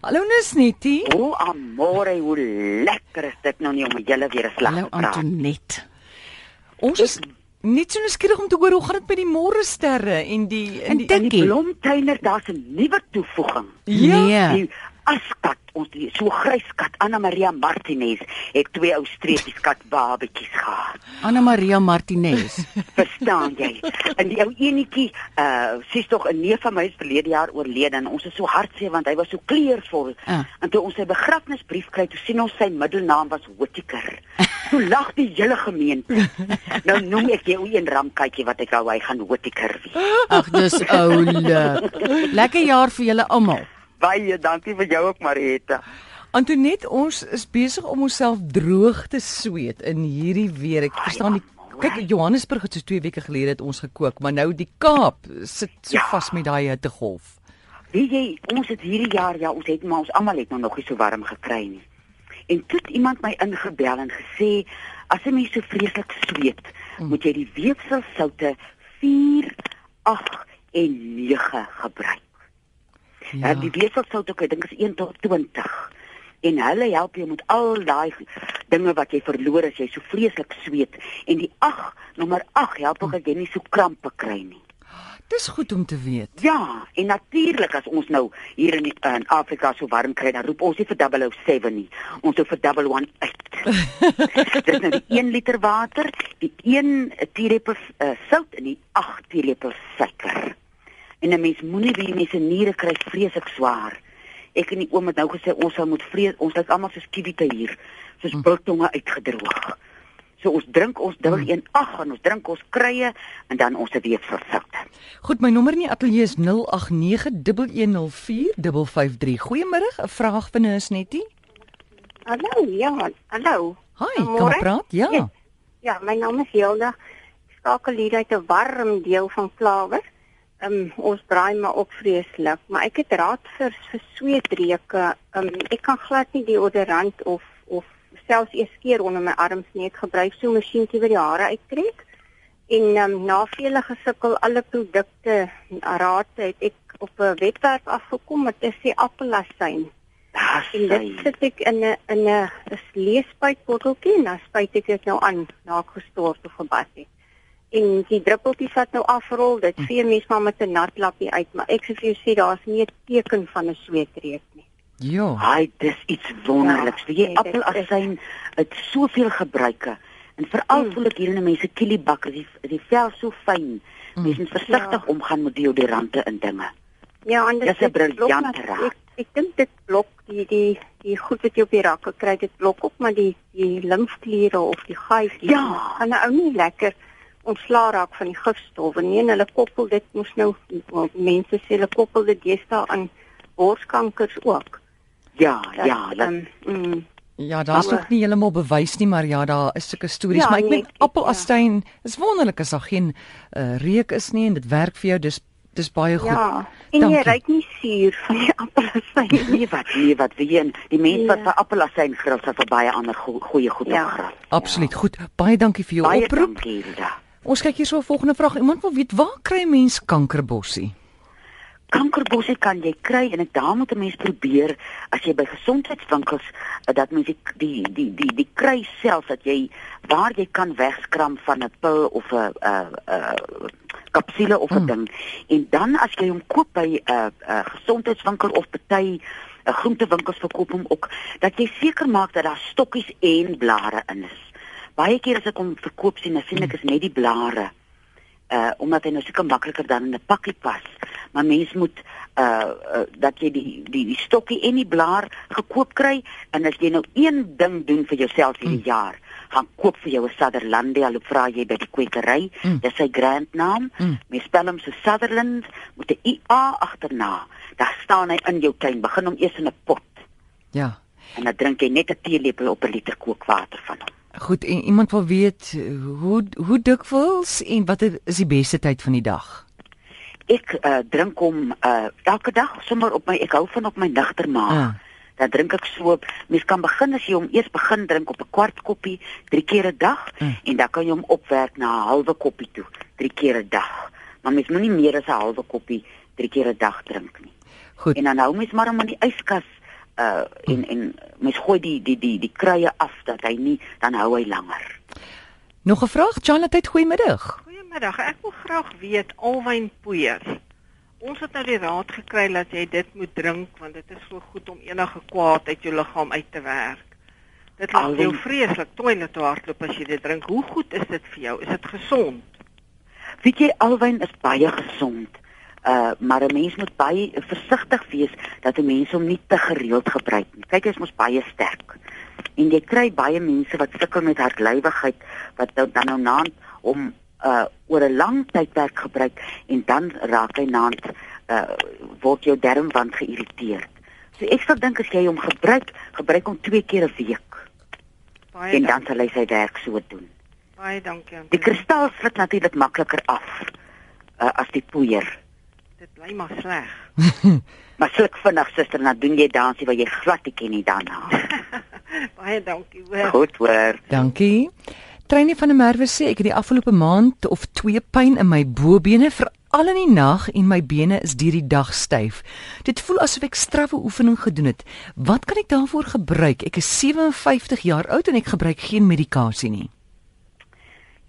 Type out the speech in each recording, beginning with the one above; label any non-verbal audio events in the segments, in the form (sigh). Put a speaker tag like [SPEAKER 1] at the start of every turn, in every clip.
[SPEAKER 1] Hallo nee, Nusniti.
[SPEAKER 2] O, amore, hoe lekker is dit nou nie om met julle weer 'n slag
[SPEAKER 1] Hallo
[SPEAKER 2] te praat.
[SPEAKER 1] Antoinette. Ons is net so nuuskierig om te hoor hoe gaan dit by die môre sterre en die
[SPEAKER 2] In
[SPEAKER 1] en
[SPEAKER 2] die,
[SPEAKER 1] die
[SPEAKER 2] in die
[SPEAKER 3] Tikkie.
[SPEAKER 2] blomtuiner daar's 'n nuwe toevoeging.
[SPEAKER 1] Ja.
[SPEAKER 3] Nee.
[SPEAKER 2] Die askat, ons die so grys kat Anna Maria Martinez het twee ou streepies kat babetjies gehad.
[SPEAKER 3] Anna Maria Martinez.
[SPEAKER 2] Verstaan jy? En die ou enetjie, uh, sies tog 'n neef van my is verlede jaar oorlede en ons is so hartseer want hy was so kleurvol.
[SPEAKER 3] Ah.
[SPEAKER 2] En toe ons sy begrafnisbrief kry, toe sien ons sy middelnaam was Whittaker. Toe lag die hele gemeente. Nou noem ek jou een ramkatjie wat ek hou, hy gaan Whittaker wees.
[SPEAKER 3] Ag, dis oulik. Lekker jaar vir julle almal.
[SPEAKER 2] Baie dankie vir jou ook Marita.
[SPEAKER 1] Antoinette, ons is besig om onsself droog te sweet in hierdie weer. Ek
[SPEAKER 2] Ai,
[SPEAKER 1] verstaan die
[SPEAKER 2] amor.
[SPEAKER 1] kyk Johannesburg het so 2 weke gelede het ons gekook, maar nou die Kaap sit so
[SPEAKER 2] Ja.
[SPEAKER 1] vas met daai hittegolf.
[SPEAKER 2] Weet jy, ons het hierdie jaar ja, ons het maar ons almal het nou nog nie so warm gekry nie. En toe het iemand my ingebel en gesê as 'n mens so vreeslik sweet, moet jy die weefselsoute 4, 8 en 9 gebruik. Ja.
[SPEAKER 1] Ja.
[SPEAKER 2] die weefselsoute, ek dink is 1 tot 20. En hulle help jou met al daai dinge wat jy verloor as jy so vreeslik sweet en die 8, nommer 8 help ook dat jy nie so krampe kry nie.
[SPEAKER 1] Dis goed om te weet.
[SPEAKER 2] Ja, en natuurlik as ons nou hier in, die, in Afrika so warm kry, dan roep ons nie vir 007 nie. Ons roep vir oh 118. (laughs) Dit is nou die 1 liter water, die 1 teelepel uh, sout en die 8 teelepel suiker. En 'n mens moenie weer mense niere kry vreeslik swaar. Ek en die oom het nou gesê ons sal moet vrees, ons lyk almal soos kiwite hier, soos biltonge uitgedroog. So ons drink ons 018 en ons drink ons kruie en dan ons weefselsoute.
[SPEAKER 1] Goed, my nommer in die ateljee is 0891104553. Goeiemôre, 'n vraag vir Nusniti.
[SPEAKER 4] Hallo, ja, hallo.
[SPEAKER 1] Hi, kan
[SPEAKER 4] Goeiemôre.
[SPEAKER 1] praat? Ja.
[SPEAKER 4] Ja. Ja, my naam is Hilda. Ek skakel hier uit 'n warm deel van Klawer. Ehm um, ons braai maar ook vreeslik, maar ek het raad vir vir sweetreuke. Ehm um, ek kan glad nie deodorant of of selfs eers keer onder my arms nie. Ek gebruik so 'n masjienkie wat die hare uittrek. En um, na vele gesukkel alle produkte en raad het ek op 'n webwerf afgekom met 'n sê appelasyn.
[SPEAKER 2] Daar
[SPEAKER 4] En dit
[SPEAKER 2] sê.
[SPEAKER 4] sit ek in 'n in 'n is leespuitbotteltjie en dan spuit ek dit nou aan na ek gestort of gebad het. En die druppeltjies wat nou afrol, dit
[SPEAKER 2] Hm.
[SPEAKER 4] vee mens maar met 'n nat lappie uit, maar ek sê vir jou sê daar's nie 'n teken van 'n sweetreuk nie.
[SPEAKER 1] Ja.
[SPEAKER 2] Haai, dis iets wonderliks.
[SPEAKER 4] Ja,
[SPEAKER 2] Weet jy,
[SPEAKER 4] nee, dit
[SPEAKER 2] appelasyn het soveel gebruike. En veral
[SPEAKER 4] Mm.
[SPEAKER 2] voel ek hier in mense kielibak, is die is die vel so fyn. Mense moet versigtig
[SPEAKER 4] Ja.
[SPEAKER 2] omgaan met deodorante en dinge.
[SPEAKER 4] Ja, anders
[SPEAKER 2] Dis 'n
[SPEAKER 4] dit blok
[SPEAKER 2] briljante
[SPEAKER 4] maar-
[SPEAKER 2] raad.
[SPEAKER 4] Ek, ek dink dit blok die die die goed wat jy op die rakke kry, dit blok op maar die die limfkliere of die gaatjies.
[SPEAKER 2] Ja.
[SPEAKER 4] En nou ou nie lekker ontslaa raak van die gifstowwe nie en hulle koppel dit moes nou mense sê hulle koppel dit deesdae aan borskankers ook.
[SPEAKER 2] Ja,
[SPEAKER 4] Dat,
[SPEAKER 2] ja, dat,
[SPEAKER 4] ehm, mm,
[SPEAKER 1] Ja, daar's
[SPEAKER 4] Alle-
[SPEAKER 1] nog nie heeltemal bewys nie, maar ja, daar is sulke stories,
[SPEAKER 4] Ja,
[SPEAKER 1] maar ek
[SPEAKER 4] nee,
[SPEAKER 1] meen
[SPEAKER 4] ek-
[SPEAKER 1] appelastyn is wonderlik as daar geen uh, reuk is nie en dit werk vir jou, dis dis baie goed.
[SPEAKER 4] ja. En jy
[SPEAKER 1] dankie.
[SPEAKER 4] ruik nie suur van die (laughs) appelsyn nie.
[SPEAKER 2] nee wat, nee wat, weet jy, en die mense wat
[SPEAKER 4] Ja.
[SPEAKER 2] vir appelasyn graf, sal vir baie ander go goeie goed
[SPEAKER 4] Ja.
[SPEAKER 2] op graf.
[SPEAKER 1] Absoluut. Goed. Baie dankie vir jou
[SPEAKER 2] Baie
[SPEAKER 1] oproep.
[SPEAKER 2] dankie, Hilda.
[SPEAKER 1] Ons kyk hier so 'n volgende vraag. Iemand wil weet waar kry 'n mens kankerbossie?
[SPEAKER 2] Kankerbosse kan jy kry en ek daar moet 'n mens probeer as jy by gesondheidswinkels eh, dat mens die die die die, die kry self dat jy waar jy kan wegskram van 'n pil of 'n 'n 'n kapsule of 'n ding en dan as jy hom koop by 'n uh, uh, gesondheidswinkel of party 'n groentewinkels verkoop hom ook dat jy seker maak dat daar stokkies en blare in is. Baie keer as ek hom verkoop sien, dan sien ek is net die blare uh omdat hy nou seker makliker dan in 'n pakkie pas. Maar mens moet uh, uh dat jy die die die stokkie en die blaar gekoop kry en as jy nou een ding doen vir jouself
[SPEAKER 1] Mm.
[SPEAKER 2] hierdie jaar, gaan koop vir jou 'n Sutherlandia, loop vra jy by die kwekery,
[SPEAKER 1] Mm.
[SPEAKER 2] dis sy grandnaam.
[SPEAKER 1] Mm.
[SPEAKER 2] Mens spel hom so Sutherland met 'n IA agterna. Daar staan hy in jou tuin, begin hom eers in 'n pot
[SPEAKER 1] Ja.
[SPEAKER 2] en dan drink jy net 'n teelepel op 'n liter kookwater van hom.
[SPEAKER 1] Goed, en iemand wil weet eh, hoe hoe dikwels en wat is die beste tyd van die dag?
[SPEAKER 2] Ek uh, drink hom uh, elke dag sommer op my ek hou van op my nigter maag.
[SPEAKER 1] Ah.
[SPEAKER 2] Dan drink ek so op. Mens kan begin as jy hom eers begin drink op 'n kwart koppie 3 keer 'n dag
[SPEAKER 1] Mm.
[SPEAKER 2] en dan kan jy hom opwerk na 'n halwe koppie toe 3 keer 'n dag. Maar mens moenie meer as 'n halwe koppie 3 keer 'n dag drink nie.
[SPEAKER 1] Goed.
[SPEAKER 2] En dan hou mens maar hom in die yskas uh en en mens gooi die die die die kruie af dat hy nie dan hou hy langer.
[SPEAKER 1] Nog 'n vraag, Charlotte, goeiemiddag.
[SPEAKER 5] Goeiemiddag. Ek wil graag weet alwynpoeiers. Ons het nou die raad gekry dat jy dit moet drink want dit is so goed om enige kwaad uit jou liggaam uit te werk. Dit laat jou
[SPEAKER 2] Alwyn-
[SPEAKER 5] vreeslik toilet toe hardloop as jy dit drink. Hoe goed is dit vir jou? Is dit gesond?
[SPEAKER 2] Weet jy alwyn is baie gesond. Uh maar 'n mens moet baie versigtig wees dat 'n mens hom nie te gereeld gebruik nie. Kyk, hy's mos baie sterk. En jy kry baie mense wat sukkel met hartlywigheid wat nou dan nou naand om uh oor 'n lang tydperk gebruik en dan raak hy naand uh word jou darmwand geïrriteerd. So ek sal dink as jy hom gebruik, gebruik hom twee keer 'n week
[SPEAKER 5] Baie
[SPEAKER 2] en dan sal hy sy werk so doen.
[SPEAKER 5] dank- baie dankie. Antonie.
[SPEAKER 2] Ja. Die kristal sluk natuurlik makliker af uh, as die poeier.
[SPEAKER 5] Dit bly maar sleg. (laughs)
[SPEAKER 2] Maar sluk vinnig suster, dan doen jy dansie wat jy glad nie ken nie daarna.
[SPEAKER 5] Baie dankie. Hoor.
[SPEAKER 2] Goed hoor.
[SPEAKER 1] Dankie. Treinie van der Merwe sê ek het die afgelope maand of 2 pyn in my bobene veral in die nag en my bene is deur die dag styf. Dit voel asof ek strawwe oefening gedoen het. Wat kan ek daarvoor gebruik? Ek is 57 jaar oud en ek gebruik geen medikasie nie.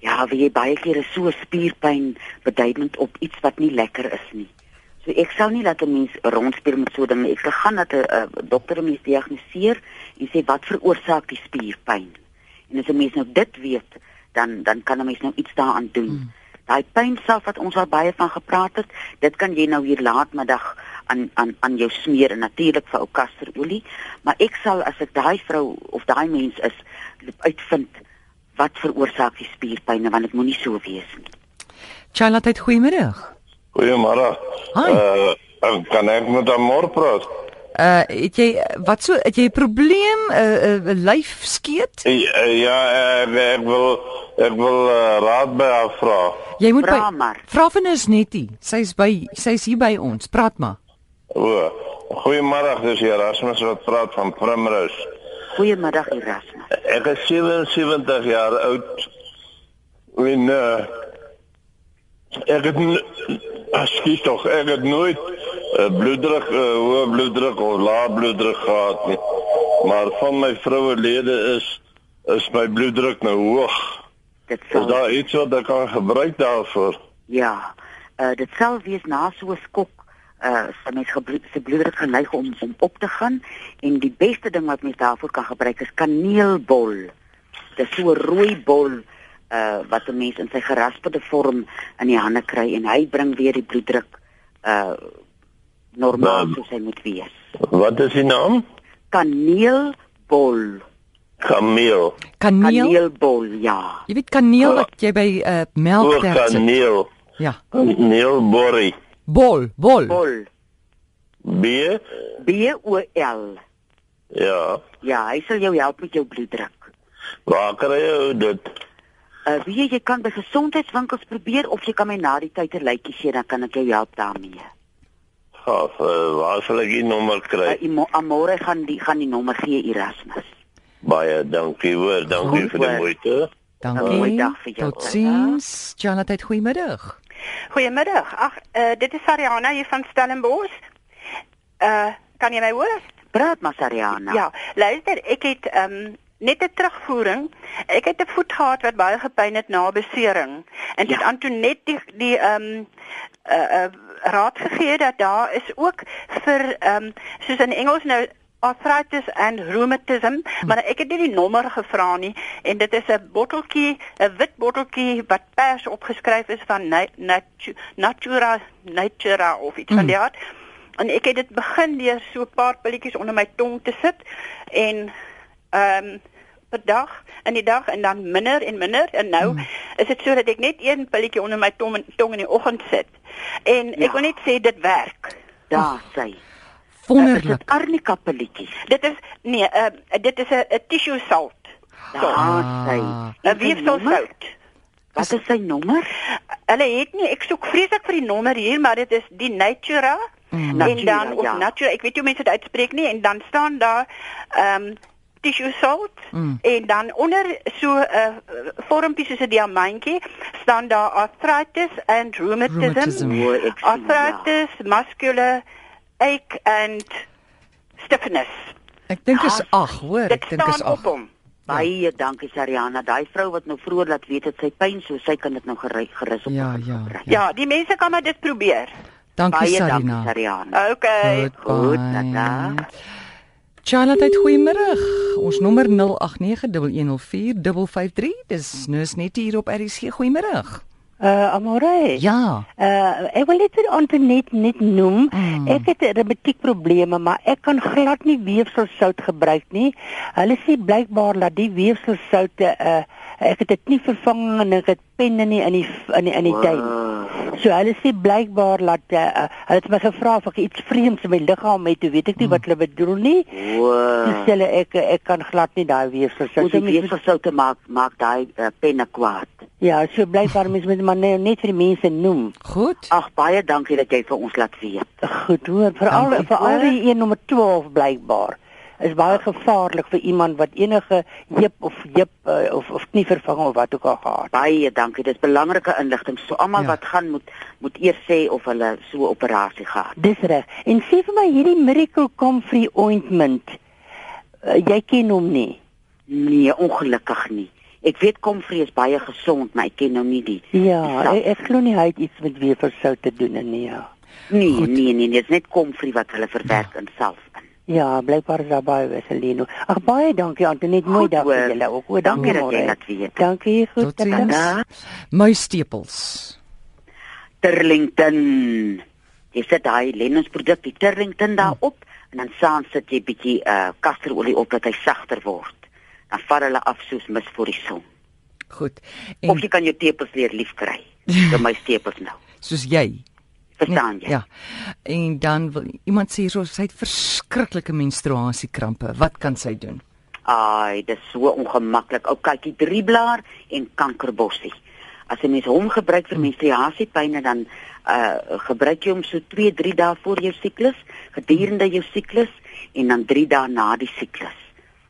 [SPEAKER 2] Ja, weet jy baie kere so 'n spierpyn beduidend op iets wat nie lekker is nie. So ek sal nie laat 'n mens rondspeel met so dinge. Ek sal gaan dat 'n uh, dokter 'n mens diagnoseer en sê wat veroorsaak die spierpyn. En as 'n mens nou dit weet, dan dan kan 'n mens nou iets daaraan doen. Hmm. Daai pyn self wat ons al baie van gepraat het, dit kan jy nou hier laatmiddag aan aan aan jou smeer en natuurlik vir ou kasterolie, maar ek sal as ek daai vrou of daai mens is, uitvind wat veroorsaak die spierpynne want dit moenie so wees nie.
[SPEAKER 1] Charlotte, goeiemiddag.
[SPEAKER 6] Goeiemôre.
[SPEAKER 1] Hi.
[SPEAKER 6] Eh, ek kan ek met Amor praat?
[SPEAKER 1] Uh het jy wat so het jy 'n probleem 'n uh, uh, lyf skeet?
[SPEAKER 6] Eh, eh, Ja, ek, ek wil ek wil uh, raad by haar vra.
[SPEAKER 1] Jy moet
[SPEAKER 2] Vra
[SPEAKER 1] by
[SPEAKER 2] maar.
[SPEAKER 1] Vra van ons netty. Sy's by sy's hier by ons. Praat maar.
[SPEAKER 6] O. Goeiemôre, dis Erasmus wat praat van Primrose.
[SPEAKER 2] Goeiemiddag Erasmus.
[SPEAKER 6] Ek is 77 jaar oud. En uh, ek het skiet tog, ek het nooit uh, bloeddruk, uh, hoë bloeddruk of lae bloeddruk gehad nie. Maar van my vrouelede is is my bloeddruk nou hoog.
[SPEAKER 2] Dit
[SPEAKER 6] Is
[SPEAKER 2] sal
[SPEAKER 6] daar iets wat ek kan gebruik daarvoor?
[SPEAKER 2] ja, uh, dit sal wees na so 'n skok uh sal mens gebloed se bloeddruk geneig om om op te gaan en die beste ding wat mens daarvoor kan gebruik is kaneelbol. Dis so 'n rooi bol uh wat 'n mens in sy gerasperde vorm in die hande kry en hy bring weer die bloeddruk uh normaal
[SPEAKER 6] Nou.
[SPEAKER 2] soos hy moet wees.
[SPEAKER 6] Wat is die naam?
[SPEAKER 2] Kaneelbol.
[SPEAKER 6] Kameel.
[SPEAKER 1] Kaneel. kaneel.
[SPEAKER 2] Kaneelbol, ja.
[SPEAKER 1] Jy weet kaneel wat jy by uh,
[SPEAKER 6] O,
[SPEAKER 1] melk terp sit.
[SPEAKER 6] kaneel.
[SPEAKER 1] Ja.
[SPEAKER 6] Kaneelborrie.
[SPEAKER 1] Bol, bol.
[SPEAKER 2] Bol.
[SPEAKER 6] B.
[SPEAKER 2] B O L.
[SPEAKER 6] Ja.
[SPEAKER 2] Ja, hy sal jou help met jou bloeddruk.
[SPEAKER 6] Waar kry jy dit?
[SPEAKER 2] Uh weet jy jy kan by gesondheidswinkels probeer of jy kan my na die tyd 'n lykie gee dan kan ek jou help daarmee.
[SPEAKER 6] Gaaf, uh, waar sal ek die nommer kry?
[SPEAKER 2] Uh, Imo- Amore gaan die gaan die nommer gee Erasmus.
[SPEAKER 6] Baie dankie hoor, dankie
[SPEAKER 2] Goed,
[SPEAKER 6] vir die
[SPEAKER 2] hoor.
[SPEAKER 6] moeite.
[SPEAKER 2] Een
[SPEAKER 1] Dankie.
[SPEAKER 2] mooi dag vir jou,
[SPEAKER 1] Tot sins. Janette, goeiemiddag.
[SPEAKER 4] Goeiemiddag. Ag, uh, dit is Ariana hier van Stellenbosch. Uh, kan jy my hoor?
[SPEAKER 2] Praat maar Sariana.
[SPEAKER 4] Ja, luister, ek het ehm um, net 'n terugvoering. Ek het 'n voet gehad wat baie gepyn het na besering. En dit
[SPEAKER 2] Ja.
[SPEAKER 4] ja. Antonet die die ehm um, uh, uh, raad gegee dat daar is ook vir ehm um, soos in Engels nou arthritis and rheumatism, hm. maar ek het nie die nommer gevra nie en dit is 'n botteltjie, 'n wit botteltjie wat pers opgeskryf is van Na- Natu- Natura Natura of iets hm. van die aard. En ek het dit begin deur so 'n paar pilletjies onder my tong te sit en ehm um, per dag in die dag en dan minder en minder en nou mm. is dit sodat ek net een pilletjie onder my tong, tong in die oggend sit. En ja.
[SPEAKER 2] Ja.
[SPEAKER 4] ek wil net sê dit werk.
[SPEAKER 2] Daar sy. Is dit (laughs)
[SPEAKER 1] Wonderlik.
[SPEAKER 2] arnika pilletjies?
[SPEAKER 4] Dit is nee, uh, dit is 'n 'n tissue salt.
[SPEAKER 2] Daar
[SPEAKER 1] Ah.
[SPEAKER 2] sy.
[SPEAKER 4] Nou
[SPEAKER 2] Is sy
[SPEAKER 4] weefsel
[SPEAKER 2] nommer?
[SPEAKER 4] sout.
[SPEAKER 2] Wat is sy nommer?
[SPEAKER 4] Hulle het nie ek soek vreeslik vir die nommer hier, maar dit is die Natura mm. en
[SPEAKER 2] Natura,
[SPEAKER 4] dan of
[SPEAKER 2] ja.
[SPEAKER 4] Natura, ek weet nie hoe mense dit uitspreek nie en dan staan daar ehm um, tissue salt mm. en dan onder so 'n uh, vormpie soos 'n diamantjie staan daar arthritis and rheumatism.
[SPEAKER 1] Rheumatism.
[SPEAKER 2] O, ek sien, ja.
[SPEAKER 4] Arthritis, muscular ache and stiffness.
[SPEAKER 1] Ek dink is
[SPEAKER 2] Ja,
[SPEAKER 1] 8, hoor. Ek dink is
[SPEAKER 2] staan op
[SPEAKER 1] 8.
[SPEAKER 2] hom. Baie dankie Sariana. Daai vrou wat nou vroeër laat weet dat sy pyn so, sy kan dit nou gery- gerus op.
[SPEAKER 1] Ja, ja.
[SPEAKER 7] Ja, die mense kan maar dit probeer.
[SPEAKER 1] Dankie
[SPEAKER 2] Baie dankie
[SPEAKER 1] Sarina.
[SPEAKER 2] Sariana.
[SPEAKER 7] Okay.
[SPEAKER 2] Goed, Nata.
[SPEAKER 1] Charlotte, uit goeiemôre. Ons nommer 0891104553. Dis nou is net hier op RC. Goeiemôre.
[SPEAKER 8] Uh Amore.
[SPEAKER 1] Ja.
[SPEAKER 8] Uh ek wil net vir Antonet net noem. Mm. Ek het reumatiek probleme, maar ek kan glad nie weefselsout gebruik nie. Hulle sê blykbaar dat die weefselsoute uh ek het dit nie vervang en ek het penne nie in die in die, in die tuin.
[SPEAKER 2] Eh.
[SPEAKER 8] So hulle sê blykbaar dat uh, uh, hulle het my gevra of ek iets vreemds in my liggaam het, toe weet ek nie mm. wat
[SPEAKER 2] Hmm.
[SPEAKER 8] hulle bedoel nie.
[SPEAKER 2] Wow.
[SPEAKER 8] Dis hulle ek ek kan glad nie daai
[SPEAKER 2] Hoe
[SPEAKER 8] weefselsout
[SPEAKER 2] die besig sou te maak, maak daai uh, penne kwaad.
[SPEAKER 8] Ja, so blykbaar mens moet maar nou net vir die mense noem.
[SPEAKER 1] Goed.
[SPEAKER 2] Ag baie dankie dat jy vir ons laat weet.
[SPEAKER 8] Goed hoor, veral
[SPEAKER 1] Dankie.
[SPEAKER 8] veral die een nommer 12 blykbaar is baie gevaarlik vir iemand wat enige heup of heup uh, of of knie vervanging of wat ook al gehad.
[SPEAKER 2] Baie dankie. Dis belangrike inligting. So almal
[SPEAKER 1] Ja.
[SPEAKER 2] ja. wat gaan moet moet eers sê of hulle so 'n operasie gehad.
[SPEAKER 8] Dis reg. En sê vir my hierdie Miracle Comfrey ointment. Uh, jy ken hom nie.
[SPEAKER 2] Nee, ongelukkig nie. Ek weet Komfrey is baie gesond, maar ek ken nou nie die. die
[SPEAKER 8] Ja,
[SPEAKER 2] sap
[SPEAKER 8] ek, ek glo nie hy het iets met weerversout te doen nie. Ja.
[SPEAKER 2] Nee, Goed. nee, nee, dit is net Komfrey wat hulle verwerk in self in.
[SPEAKER 8] Ja, blykbaar is daar baie Weselino. Ag baie dankie Antonet, mooi
[SPEAKER 2] Goed
[SPEAKER 8] dag
[SPEAKER 2] hoor.
[SPEAKER 8] vir julle ook. O, dankie
[SPEAKER 2] Dankie dat jy
[SPEAKER 8] môre.
[SPEAKER 2] laat weet.
[SPEAKER 8] Dankie, goed.
[SPEAKER 1] Totsiens.
[SPEAKER 2] dag.
[SPEAKER 1] Muisstepels.
[SPEAKER 2] Turlington. Jy sit daai Lennons produk, die
[SPEAKER 8] Hm.
[SPEAKER 2] Turlington daarop en dan saam sit jy bietjie uh kasterolie op dat hy sagter word. Dan vat hulle af soos mis voor die son.
[SPEAKER 1] Goed.
[SPEAKER 2] En... Of
[SPEAKER 1] En
[SPEAKER 2] jy kan jou tepels leer lief
[SPEAKER 8] (laughs)
[SPEAKER 2] kry. Vir my tepels nou.
[SPEAKER 1] soos jy.
[SPEAKER 2] Verstaan
[SPEAKER 8] Nee,
[SPEAKER 2] jy?
[SPEAKER 1] Ja. En dan wil iemand sê hierso sy het verskriklike menstruasiekrampe. Wat kan sy doen?
[SPEAKER 2] Ai, dis so ongemaklik. Ou kykie drieblaar en kankerbossie. As 'n mens hom gebruik vir menstruasiepyne dan uh gebruik jy hom so 2-3 dae voor jou siklus, gedurende jou siklus en dan 3 dae na die siklus.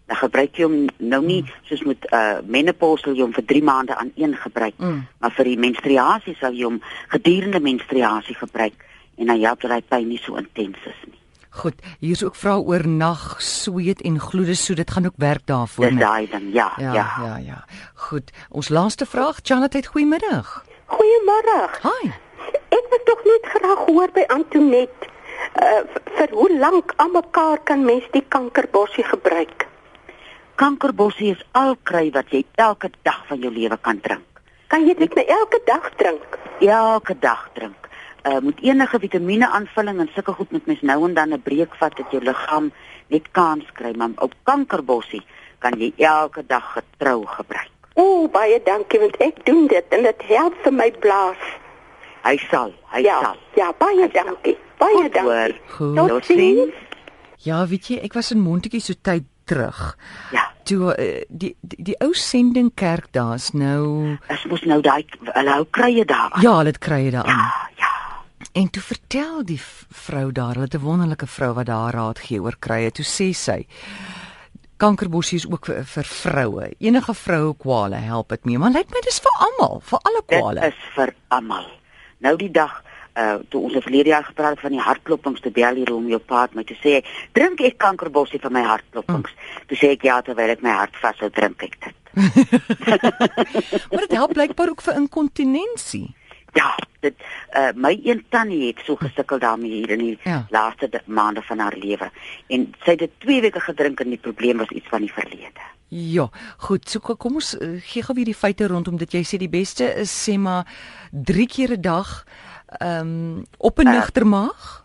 [SPEAKER 2] Dan gebruik jy hom nou nie soos met uh menopause sal jy hom vir 3 maande aan een gebruik, mm. maar vir die menstruasie sal jy hom gedurende menstruasie gebruik en dan help dat hy pyn nie so intens is nie.
[SPEAKER 1] Goed. Hier's ook vrae oor nag, sweet en gloede soet. Dit gaan ook werk daarvoor.
[SPEAKER 2] Dis
[SPEAKER 1] né?
[SPEAKER 2] daai ding. Ja, ja. ja.
[SPEAKER 1] ja, ja. Goed. Ons laaste vraag, Charlotte, goeiemiddag.
[SPEAKER 4] Goeiemôre.
[SPEAKER 1] Hi.
[SPEAKER 4] Ek wil tog net graag hoor by Antonet uh, v- vir hoe lank aan mekaar kan mens die kankerbossie gebruik?
[SPEAKER 2] Kankerbossie is al kry wat jy elke dag van jou lewe kan drink.
[SPEAKER 4] Kan jy dit nou elke dag drink?
[SPEAKER 2] Elke dag drink. Uh moet enige vitamiene aanvulling en sulke goed moet mens nou en dan 'n breek vat dat jou liggaam net kans kry, maar op kankerbossie kan jy elke dag getrou gebruik.
[SPEAKER 4] O, baie dankie want ek doen dit en dit help vir my blaas.
[SPEAKER 2] Hy sal, hy
[SPEAKER 4] Ja,
[SPEAKER 2] sal.
[SPEAKER 4] ja, baie dankie. Baie
[SPEAKER 2] Goed hoor. Nou
[SPEAKER 4] dankie.
[SPEAKER 1] Goed.
[SPEAKER 4] Tot sien.
[SPEAKER 1] Ja, weet jy, ek was in Montetjie so tyd terug.
[SPEAKER 2] Ja,
[SPEAKER 1] Toe eh, die die, die ou sending kerk daar's nou
[SPEAKER 2] as mos nou daai hulle hou krye daar. aan.
[SPEAKER 1] ja, hulle het krye daaraan.
[SPEAKER 2] ja.
[SPEAKER 1] En toe vertel die v- vrou daar, hulle het 'n wonderlike vrou wat daar raad gee oor krye. Toe sê sy kankerbossie is ook vir, vir vroue. Enige vroue kwale help dit mee, maar lyk my dis vir almal, vir alle kwale.
[SPEAKER 2] Dit is vir almal. Nou die dag uh toe ons verlede jaar gepraat het van die hartklopings te bel hier om jou pa het my toe sê drink ek kankerbossie vir my hartklopings. Mm. Toe sê ek ja terwyl ek my hart vashou drink ek dit.
[SPEAKER 1] Maar dit help blykbaar ook vir inkontinensie.
[SPEAKER 2] Ja, dit uh my een tannie het so gesukkel daarmee hier in die
[SPEAKER 1] Ja.
[SPEAKER 2] ja. laaste de- maande van haar lewe en sy het dit 2 weke gedrink en die probleem was iets van die verlede.
[SPEAKER 1] Ja, goed, so ko- kom ons eh, gee gou weer die feite rondom dit. Jy sê die beste is sê maar 3 keer 'n dag ehm um, op 'n nugter maag.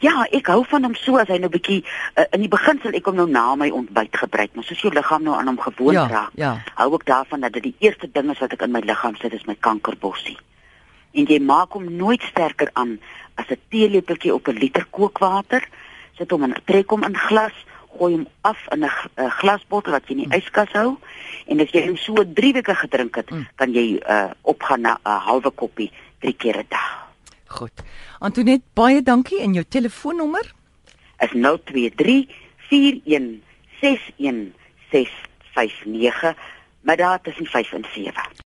[SPEAKER 2] Ja, ek hou van hom so as hy nou bietjie uh, in die begin sal ek hom nou na my ontbyt gebruik, maar soos jou liggaam nou aan hom gewoond
[SPEAKER 1] Ja,
[SPEAKER 2] raak,
[SPEAKER 1] ja.
[SPEAKER 2] hou ek daarvan dat dit die eerste ding is wat ek in my liggaam sit is my kankerbossie. En jy maak hom nooit sterker aan as 'n teelepeltjie op 'n liter kookwater, sit hom in trek hom in glas, gooi hom af in 'n g- 'n glasbottel wat jy in die
[SPEAKER 1] Mm.
[SPEAKER 2] yskas hou en as jy hom so 3 weke gedrink het,
[SPEAKER 1] Mm.
[SPEAKER 2] kan jy uh, opgaan na 'n halwe koppie 3 keer 'n dag.
[SPEAKER 1] Goed. Antoinette, baie dankie en jou telefoonnommer?
[SPEAKER 2] is nou 023 41 61 659 middag tussen 5 en 7.